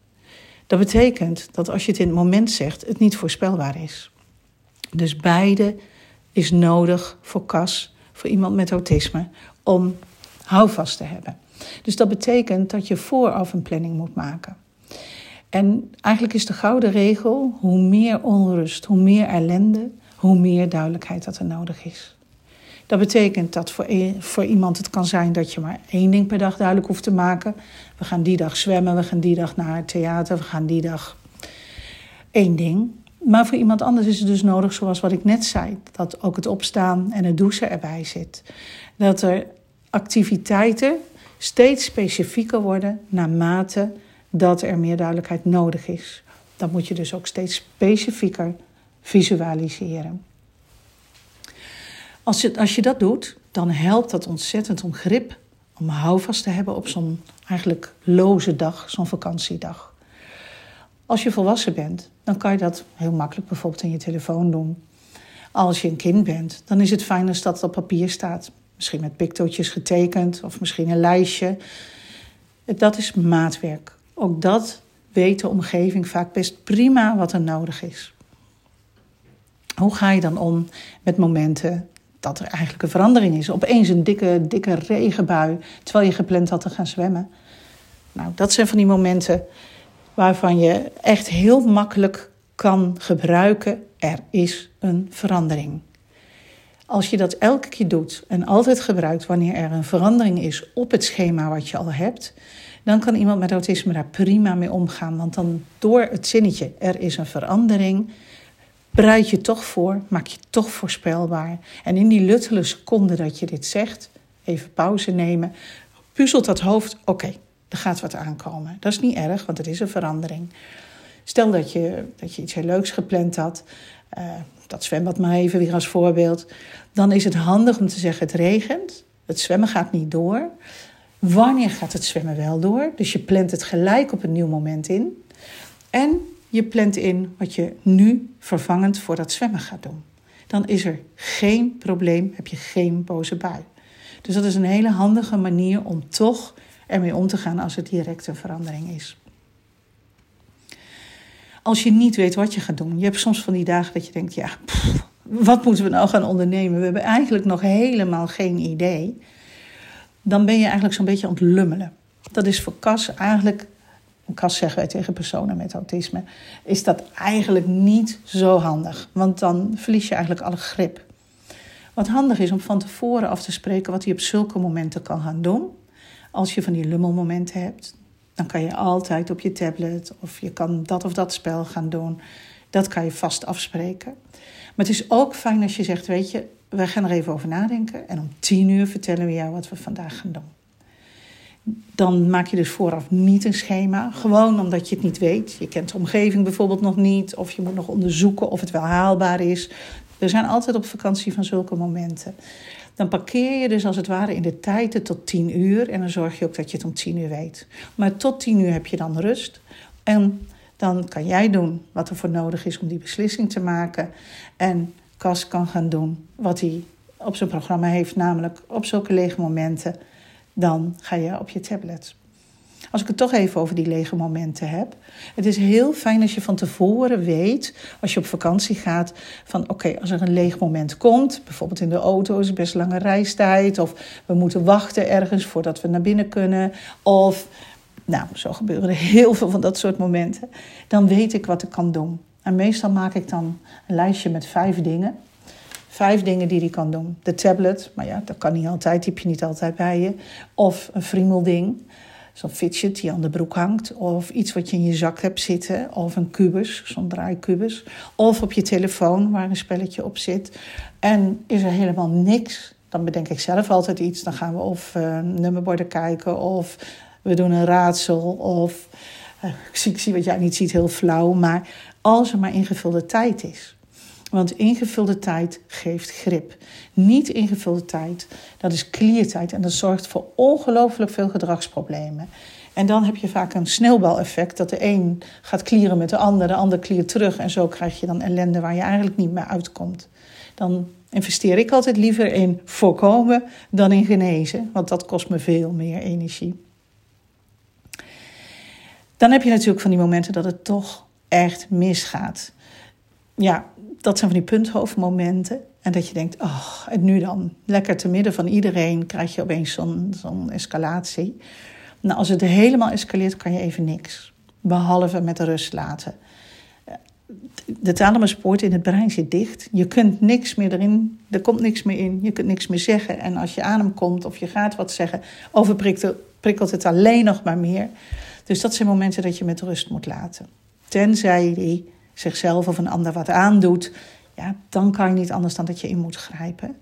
Dat betekent dat als je het in het moment zegt, het niet voorspelbaar is. Dus beide is nodig voor Cas, voor iemand met autisme, om houvast te hebben. Dus dat betekent dat je vooraf een planning moet maken. En eigenlijk is de gouden regel: hoe meer onrust, hoe meer ellende, hoe meer duidelijkheid dat er nodig is. Dat betekent dat voor, e- voor iemand het kan zijn dat je maar één ding per dag duidelijk hoeft te maken. We gaan die dag zwemmen, we gaan die dag naar het theater, we gaan die dag één ding. Maar voor iemand anders is het dus nodig, zoals wat ik net zei, dat ook het opstaan en het douchen erbij zit. Dat er activiteiten steeds specifieker worden naarmate dat er meer duidelijkheid nodig is. Dat moet je dus ook steeds specifieker visualiseren. Als je, als je dat doet, dan helpt dat ontzettend om grip, om houvast te hebben op zo'n eigenlijk loze dag, zo'n vakantiedag. Als je volwassen bent, dan kan je dat heel makkelijk bijvoorbeeld in je telefoon doen. Als je een kind bent, dan is het fijn als dat op papier staat. Misschien met pictootjes getekend of misschien een lijstje. Dat is maatwerk. Ook dat weet de omgeving vaak best prima wat er nodig is. Hoe ga je dan om met momenten dat er eigenlijk een verandering is? Opeens een dikke, dikke regenbui terwijl je gepland had te gaan zwemmen. Nou, dat zijn van die momenten waarvan je echt heel makkelijk kan gebruiken. Er is een verandering. Als je dat elke keer doet en altijd gebruikt wanneer er een verandering is op het schema wat je al hebt, dan kan iemand met autisme daar prima mee omgaan. Want dan door het zinnetje er is een verandering, bereid je toch voor, maak je toch voorspelbaar. En in die luttele seconde dat je dit zegt, even pauze nemen, puzzelt dat hoofd, oké, er gaat wat aankomen. Dat is niet erg, want het is een verandering. Stel dat je, dat je iets heel leuks gepland had, eh, dat zwembad maar even weer als voorbeeld, dan is het handig om te zeggen het regent, het zwemmen gaat niet door. Wanneer gaat het zwemmen wel door? Dus je plant het gelijk op een nieuw moment in. En je plant in wat je nu vervangend voor dat zwemmen gaat doen. Dan is er geen probleem, heb je geen boze bui. Dus dat is een hele handige manier om toch ermee om te gaan als het direct een verandering is. Als je niet weet wat je gaat doen, je hebt soms van die dagen dat je denkt: ja, pff, wat moeten we nou gaan ondernemen? We hebben eigenlijk nog helemaal geen idee. Dan ben je eigenlijk zo'n beetje aan het lummelen. Dat is voor Cas eigenlijk een kast zeggen wij tegen personen met autisme, is dat eigenlijk niet zo handig. Want dan verlies je eigenlijk alle grip. Wat handig is om van tevoren af te spreken wat hij op zulke momenten kan gaan doen. Als je van die lummelmomenten hebt, dan kan je altijd op je tablet of je kan dat of dat spel gaan doen. Dat kan je vast afspreken. Maar het is ook fijn als je zegt, weet je, wij gaan er even over nadenken. En om tien uur vertellen we jou wat we vandaag gaan doen. Dan maak je dus vooraf niet een schema. Gewoon omdat je het niet weet. Je kent de omgeving bijvoorbeeld nog niet. Of je moet nog onderzoeken of het wel haalbaar is. We zijn altijd op vakantie van zulke momenten. Dan parkeer je dus als het ware in de tijd het tot tien uur. En dan zorg je ook dat je het om tien uur weet. Maar tot tien uur heb je dan rust. En dan kan jij doen wat er voor nodig is om die beslissing te maken. En Cas kan gaan doen wat hij op zijn programma heeft. Namelijk op zulke lege momenten. Dan ga je op je tablet. Als ik het toch even over die lege momenten heb. Het is heel fijn als je van tevoren weet, als je op vakantie gaat, van oké, als er een leeg moment komt, bijvoorbeeld in de auto is het best lange reistijd, of we moeten wachten ergens voordat we naar binnen kunnen, of nou, zo gebeuren er heel veel van dat soort momenten, dan weet ik wat ik kan doen. En meestal maak ik dan een lijstje met vijf dingen. Vijf dingen die hij kan doen. De tablet, maar ja, dat kan niet altijd, die heb je niet altijd bij je. Of een friemelding zo'n fidget die aan de broek hangt, of iets wat je in je zak hebt zitten, of een kubus, zo'n draaikubus, of op je telefoon waar een spelletje op zit. En is er helemaal niks, dan bedenk ik zelf altijd iets. Dan gaan we of eh, nummerborden kijken, of we doen een raadsel, of eh, ik, zie, ik zie wat jij niet ziet, heel flauw, maar als er maar ingevulde tijd is. Want ingevulde tijd geeft grip. Niet ingevulde tijd, dat is kliertijd en dat zorgt voor ongelooflijk veel gedragsproblemen. En dan heb je vaak een sneeuwbaleffect dat de een gaat klieren met de ander, de ander kliert terug en zo krijg je dan ellende waar je eigenlijk niet meer uitkomt. Dan investeer ik altijd liever in voorkomen dan in genezen, want dat kost me veel meer energie. Dan heb je natuurlijk van die momenten dat het toch echt misgaat. Ja, dat zijn van die punthoofdmomenten. En dat je denkt, oh, en nu dan? Lekker te midden van iedereen krijg je opeens zo'n zo'n escalatie. Nou, als het helemaal escaleert, kan je even niks. Behalve met rust laten. De thalamuspoort in het brein zit dicht. Je kunt niks meer erin. Er komt niks meer in. Je kunt niks meer zeggen. En als je aan hem komt of je gaat wat zeggen, overprikkelt prikkelt het alleen nog maar meer. Dus dat zijn momenten dat je met rust moet laten. Tenzij die zichzelf of een ander wat aandoet, ja, dan kan je niet anders dan dat je in moet grijpen.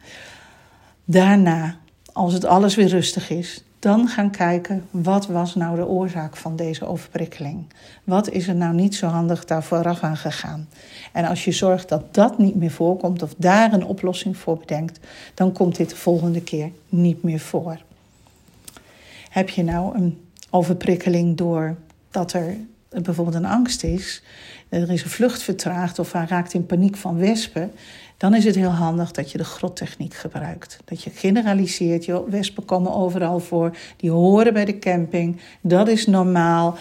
Daarna, als het alles weer rustig is, dan gaan kijken wat was nou de oorzaak van deze overprikkeling. Wat is er nou niet zo handig daar vooraf aan gegaan? En als je zorgt dat dat niet meer voorkomt of daar een oplossing voor bedenkt, dan komt dit de volgende keer niet meer voor. Heb je nou een overprikkeling door dat er bijvoorbeeld een angst is, er is een vlucht vertraagd of hij raakt in paniek van wespen, dan is het heel handig dat je de grottechniek gebruikt. Dat je generaliseert, joh, wespen komen overal voor, die horen bij de camping, dat is normaal.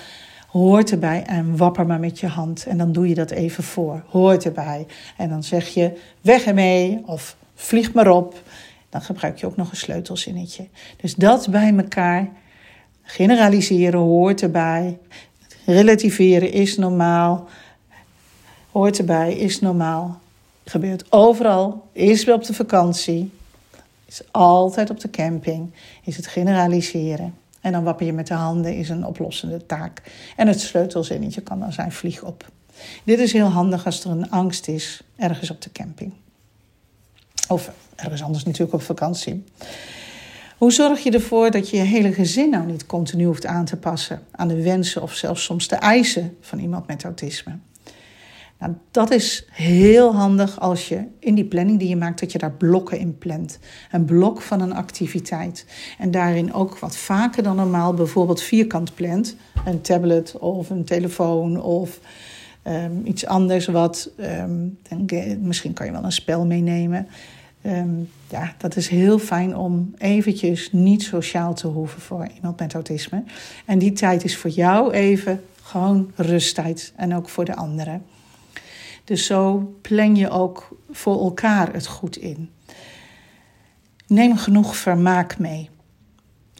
Hoort erbij en wapper maar met je hand. En dan doe je dat even voor. Hoort erbij. En dan zeg je weg ermee of vlieg maar op. Dan gebruik je ook nog een sleutelzinnetje. Dus dat bij elkaar generaliseren hoort erbij. Relativeren is normaal. Hoort erbij, is normaal. Gebeurt overal. Is wel op de vakantie. Is altijd op de camping. Is het generaliseren. En dan wapper je met de handen is een oplossende taak. En het sleutelzinnetje kan dan zijn vlieg op. Dit is heel handig als er een angst is ergens op de camping. Of ergens anders natuurlijk op vakantie. Hoe zorg je ervoor dat je je hele gezin nou niet continu hoeft aan te passen aan de wensen of zelfs soms de eisen van iemand met autisme? Nou, dat is heel handig als je in die planning die je maakt, dat je daar blokken in plant. Een blok van een activiteit. En daarin ook wat vaker dan normaal bijvoorbeeld vierkant plant. Een tablet of een telefoon of ehm, iets anders wat... ehm, denk, eh, misschien kan je wel een spel meenemen. Ehm, ja, dat is heel fijn om eventjes niet sociaal te hoeven voor iemand met autisme. En die tijd is voor jou even gewoon rusttijd. En ook voor de anderen. Dus zo plan je ook voor elkaar het goed in. Neem genoeg vermaak mee.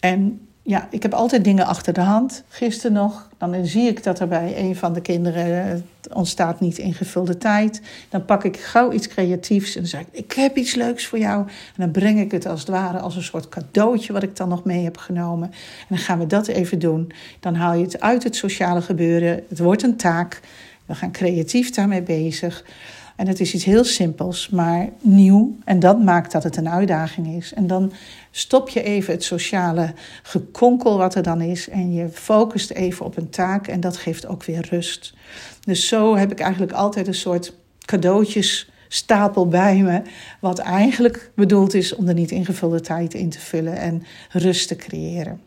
En ja, ik heb altijd dingen achter de hand. Gisteren nog, dan zie ik dat er bij een van de kinderen eh, het ontstaat niet ingevulde tijd. Dan pak ik gauw iets creatiefs en dan zeg ik, ik heb iets leuks voor jou. En dan breng ik het als het ware als een soort cadeautje wat ik dan nog mee heb genomen. En dan gaan we dat even doen. Dan haal je het uit het sociale gebeuren. Het wordt een taak. We gaan creatief daarmee bezig. En het is iets heel simpels, maar nieuw. En dat maakt dat het een uitdaging is. En dan stop je even het sociale gekonkel wat er dan is. En je focust even op een taak. En dat geeft ook weer rust. Dus zo heb ik eigenlijk altijd een soort cadeautjesstapel bij me. Wat eigenlijk bedoeld is om de niet ingevulde tijd in te vullen en rust te creëren.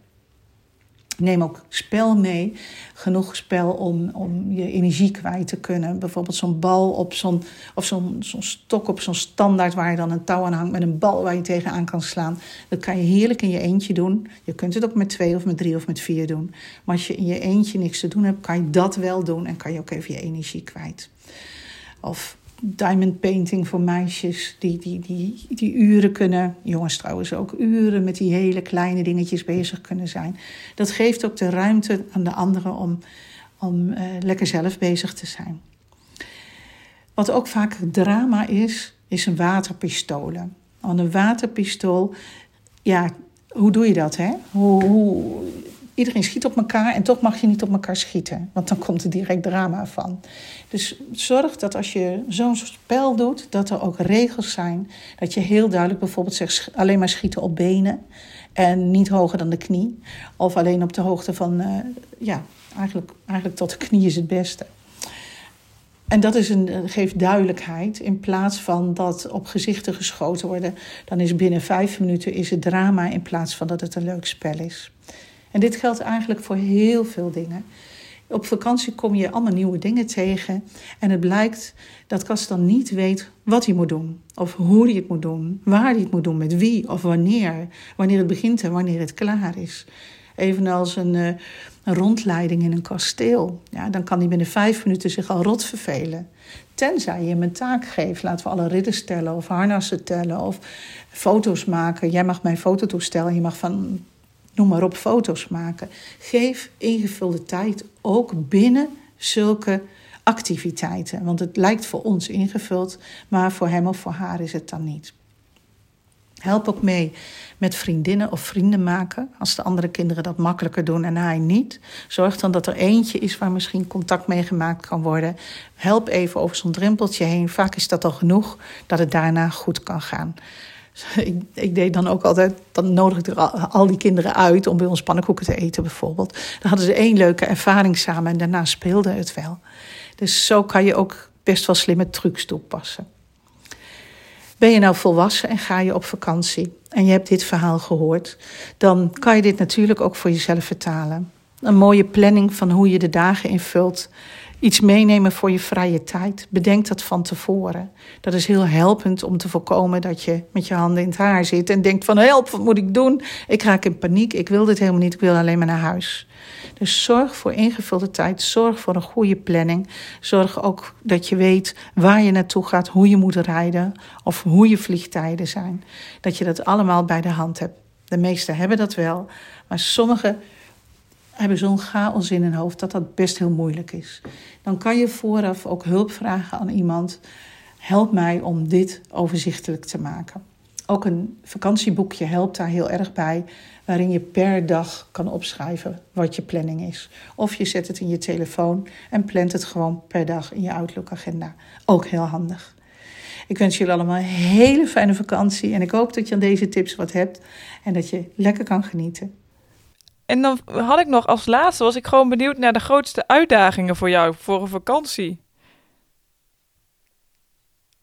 Ik neem ook spel mee. Genoeg spel om, om je energie kwijt te kunnen. Bijvoorbeeld zo'n bal op zo'n, of zo'n, zo'n stok op zo'n standaard waar je dan een touw aan hangt met een bal waar je tegenaan kan slaan. Dat kan je heerlijk in je eentje doen. Je kunt het ook met twee of met drie of met vier doen. Maar als je in je eentje niks te doen hebt, kan je dat wel doen en kan je ook even je energie kwijt. Of diamond painting voor meisjes die, die, die, die uren kunnen, jongens trouwens ook uren met die hele kleine dingetjes bezig kunnen zijn. Dat geeft ook de ruimte aan de anderen om, om eh, lekker zelf bezig te zijn. Wat ook vaak drama is, is een waterpistolen. Want een waterpistool, ja, hoe doe je dat hè? Hoe, hoe, iedereen schiet op elkaar en toch mag je niet op elkaar schieten. Want dan komt er direct drama van. Dus zorg dat als je zo'n spel doet, dat er ook regels zijn. Dat je heel duidelijk bijvoorbeeld zegt sch- alleen maar schieten op benen. En niet hoger dan de knie. Of alleen op de hoogte van, eh, ja, eigenlijk, eigenlijk tot de knie is het beste. En dat is een, geeft duidelijkheid. In plaats van dat op gezichten geschoten worden, dan is binnen vijf minuten is het drama in plaats van dat het een leuk spel is. En dit geldt eigenlijk voor heel veel dingen. Op vakantie kom je allemaal nieuwe dingen tegen. En het blijkt dat Cas dan niet weet wat hij moet doen. Of hoe hij het moet doen. Waar hij het moet doen. Met wie. Of wanneer. Wanneer het begint en wanneer het klaar is. Evenals een, eh, een rondleiding in een kasteel. Ja, dan kan hij binnen vijf minuten zich al rot vervelen. Tenzij je hem een taak geeft. Laten we alle ridders tellen. Of harnassen tellen. Of foto's maken. Jij mag mijn fototoestel. en Je mag van noem maar op, foto's maken. Geef ingevulde tijd ook binnen zulke activiteiten. Want het lijkt voor ons ingevuld, maar voor hem of voor haar is het dan niet. Help ook mee met vriendinnen of vrienden maken. Als de andere kinderen dat makkelijker doen en hij niet. Zorg dan dat er eentje is waar misschien contact mee gemaakt kan worden. Help even over zo'n drempeltje heen. Vaak is dat al genoeg dat het daarna goed kan gaan. Ik, ik deed dan ook altijd, dan nodigde ik er al, al die kinderen uit om bij ons pannenkoeken te eten bijvoorbeeld. Dan hadden ze één leuke ervaring samen en daarna speelde het wel. Dus zo kan je ook best wel slimme trucs toepassen. Ben je nou volwassen en ga je op vakantie en je hebt dit verhaal gehoord, dan kan je dit natuurlijk ook voor jezelf vertalen. Een mooie planning van hoe je de dagen invult. Iets meenemen voor je vrije tijd. Bedenk dat van tevoren. Dat is heel helpend om te voorkomen dat je met je handen in het haar zit en denkt van help, wat moet ik doen? Ik raak in paniek, ik wil dit helemaal niet, ik wil alleen maar naar huis. Dus zorg voor ingevulde tijd, zorg voor een goede planning. Zorg ook dat je weet waar je naartoe gaat, hoe je moet rijden of hoe je vliegtijden zijn. Dat je dat allemaal bij de hand hebt. De meesten hebben dat wel, maar sommigen hebben zo'n chaos in hun hoofd dat dat best heel moeilijk is. Dan kan je vooraf ook hulp vragen aan iemand. Help mij om dit overzichtelijk te maken. Ook een vakantieboekje helpt daar heel erg bij, waarin je per dag kan opschrijven wat je planning is. Of je zet het in je telefoon en plant het gewoon per dag in je Outlook-agenda. Ook heel handig. Ik wens jullie allemaal een hele fijne vakantie en ik hoop dat je aan deze tips wat hebt en dat je lekker kan genieten.
En dan had ik nog als laatste, was ik gewoon benieuwd naar de grootste uitdagingen voor jou voor een vakantie.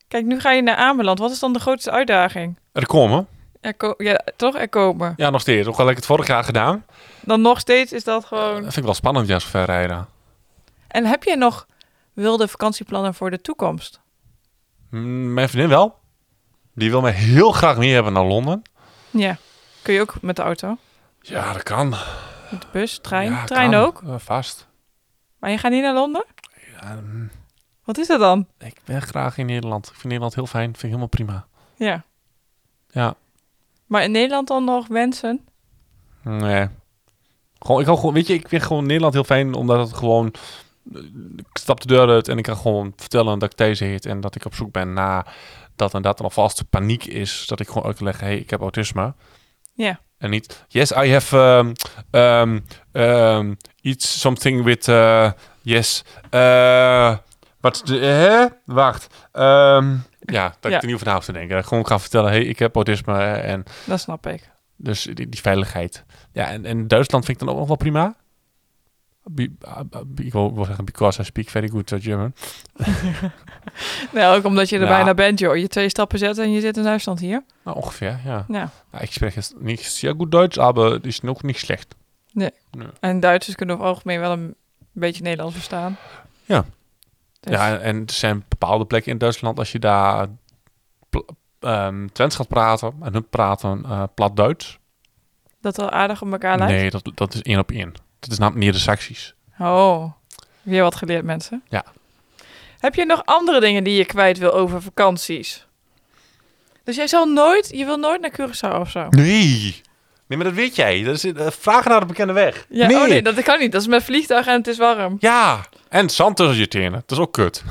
Kijk, nu ga je naar Ameland. Wat is dan de grootste uitdaging?
Er komen.
Er ko- ja, toch er komen.
Ja, nog steeds. Ook al heb ik het vorig jaar gedaan.
Dan nog steeds is dat
Dat
gewoon.
vind ik wel spannend, ja, zo ver rijden.
En heb je nog wilde vakantieplannen voor de toekomst?
Mm, Mijn vriendin wel. Die wil mij heel graag mee hebben naar Londen.
Ja. Kun je ook met de auto?
Ja, dat kan.
Met de bus, trein?
Ja,
trein
kan.
ook?
Eh, vast.
Maar je gaat niet naar Londen?
Ja, mm,
Wat is dat dan?
ik ben graag in Nederland. Ik vind Nederland heel fijn. Vind ik helemaal prima.
Ja.
Ja.
Maar in Nederland dan nog wensen?
Nee. Gewoon, ik hou gewoon, weet je, ik vind gewoon Nederland heel fijn, omdat het gewoon... eh, Ik stap de deur uit en ik kan gewoon vertellen dat ik Thijs heet en dat ik op zoek ben naar dat en dat. En of als de paniek is, dat ik gewoon uit kan leggen, hey, ik heb autisme.
Ja.
En niet, yes, I have ehm, um, um, um, iets, something with, uh, yes, uh, eh, Wat, de- hè? Wacht. Ehm, ja, dat
Ja.
ik er niet over na hoef te denken. Dat ik gewoon ga vertellen, hey, ik heb autisme en
Dat snap ik.
dus die, die veiligheid. Ja, en, en Duitsland vind ik dan ook nog wel prima. Be- ah, ah, be- ik wil wil zeggen, because I speak very good eh, German.
Nou, ook omdat je er
Ja.
bijna bent, joh. Je twee stappen zet en je zit in Duitsland hier.
Nou, ongeveer, ja.
Ja.
Ja, ik spreek jetzt niet zeer goed Duits, maar het is nog niet slecht.
En Duitsers kunnen over het algemeen wel een beetje Nederlands verstaan.
Ja.
Dus-
Ja, en- en er zijn bepaalde plekken in Duitsland, als je daar pl- ehm, Twents gaat praten en hun praten eh, plat Duits.
Dat al aardig op elkaar lijkt.
Nee, dat, dat is één op één. Dat is namelijk Neder-Saxisch.
Oh, weer wat geleerd, mensen.
Ja.
Heb je nog andere dingen die je kwijt wil over vakanties? Dus jij zal nooit, je wil nooit naar Curaçao of zo?
Nee! Nee, maar dat weet jij. Dat is, eh, vragen naar de bekende weg.
Ja, Oh nee, dat kan niet. Dat is met vliegtuig en het is warm.
Ja, en zand tussen je tenen. Dat is ook kut.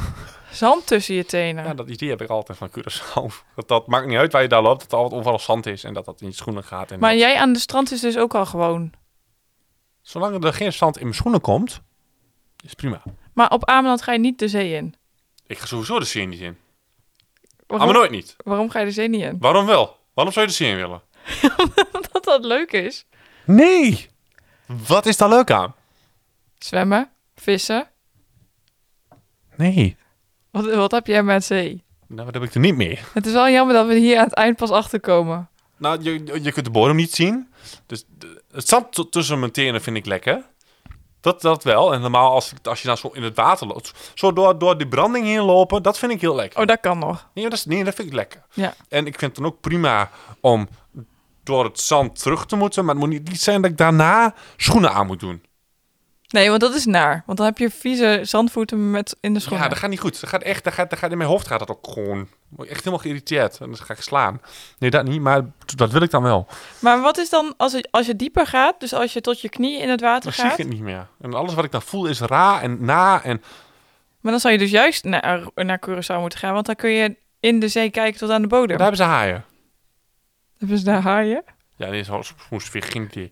Zand tussen je tenen.
Ja, dat idee heb ik altijd van Curaçao. Dat, dat maakt niet uit waar je daar loopt, dat er altijd overal zand is en dat dat in je schoenen gaat. En
maar
dat-
jij aan de strand is dus ook al gewoon.
Zolang er geen zand in mijn schoenen komt, is prima.
Maar op Ameland ga je niet de zee in.
Ik ga sowieso de zee niet in. Ah,
Waarom,
maar nooit niet.
waarom ga je de zee niet in?
Waarom wel? Waarom zou je de zee in willen?
Omdat dat leuk is.
Nee! Wat is daar leuk aan?
Zwemmen, vissen.
Nee.
Wat, wat heb jij met zee?
Nou, dat heb ik er niet mee.
Het is wel jammer dat we hier aan het eind pas achterkomen.
Nou, je, je kunt de bodem niet zien. Dus de- het zand t- tussen mijn tenen vind ik lekker. Dat, dat wel. En normaal als, als je dan zo in het water loopt. Zo door, door die branding heen lopen, dat vind ik heel lekker.
Oh, dat kan nog.
Nee, dat, is, nee, dat vind ik lekker.
Ja.
En ik vind het dan ook prima om door het zand terug te moeten. Maar het moet niet, niet zijn dat ik daarna schoenen aan moet doen.
Nee, want dat is naar. Want dan heb je vieze zandvoeten met in de schoenen.
Ja, dat gaat niet goed. Dat gaat echt, dat gaat, dat gaat, in mijn hoofd gaat dat ook gewoon. Ik word echt helemaal geïrriteerd. En dan ga ik slaan. Nee, dat niet, maar dat wil ik dan wel.
Maar wat is dan als, het, als je dieper gaat, dus als je tot je knieën in het water
Dan zie ik
gaat,
het niet meer. En alles wat ik dan voel is raar en na. En
maar dan zou je dus juist naar, naar Curaçao moeten gaan, want dan kun je in de zee kijken tot aan de bodem.
daar hebben ze haaien.
Dus daar haaien.
Ja, dit is wel moest weer geen idee.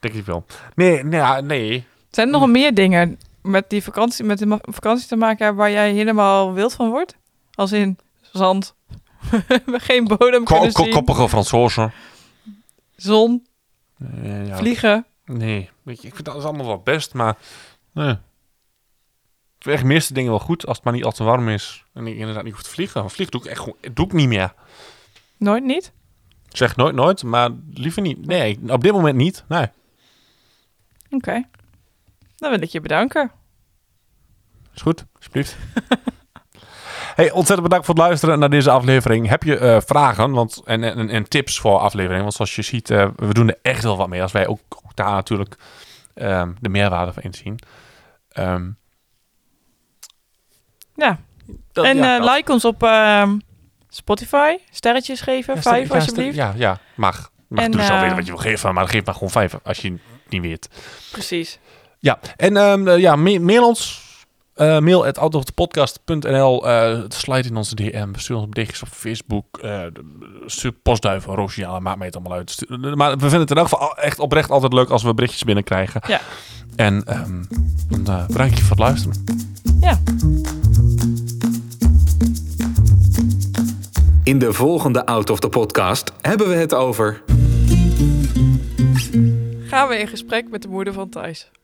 Denk ik wel. Nee, nee, ja, nee.
Zijn er nog meer dingen met die vakantie, met de ma- vakantie te maken hebben waar jij helemaal wild van wordt? Als in zand, geen bodem kunnen zien,
koppige Fransozen.
zon,
Nee, ja.
vliegen.
nee. Weet je, ik vind dat is allemaal wel best, maar... Nee. Ik vind echt de meeste dingen wel goed, als het maar niet al te warm is. En ik inderdaad niet hoef te vliegen. Want vliegen doe ik echt gewoon... eh, Doe ik niet meer.
Nooit niet.
Ik Zeg nooit nooit, maar liever niet. Nee, op dit moment niet. Nee.
Oké. Dan wil ik je bedanken.
Is goed, alsjeblieft. Hey, ontzettend bedankt voor het luisteren naar deze aflevering. Heb je eh, vragen want, en, en, en tips voor afleveringen? Want zoals je ziet, eh, we doen er echt wel wat mee. Als wij ook, ook daar natuurlijk ehm, de meerwaarde van inzien. Ehm,
Ja.
dat-
en
ja,
eh,
dat-
like ons op ehm, Spotify. Sterretjes geven,
Ja, stel-
vijf
ja, stel-
alsjeblieft.
Ja, ja, mag. Mag
En,
en, dus al
eh,
weten wat je wil geven, maar geef maar gewoon vijf als je het niet weet.
Precies.
Ja, en ehm, eh, ja, ma- mail ons. eh mail at outofthepodcast.nl eh Sluit in onze DM. Stuur ons berichtjes op Facebook. eh stuur postduiven, roosjalen. Maakt mij het allemaal uit. Stuur- maar we vinden het in elk geval al- echt oprecht altijd leuk als we berichtjes binnenkrijgen.
Ja.
En ehm dan eh, bedankt je voor het luisteren.
In de volgende Out of the Podcast hebben we het over...
Gaan we in gesprek met de moeder van Thijs.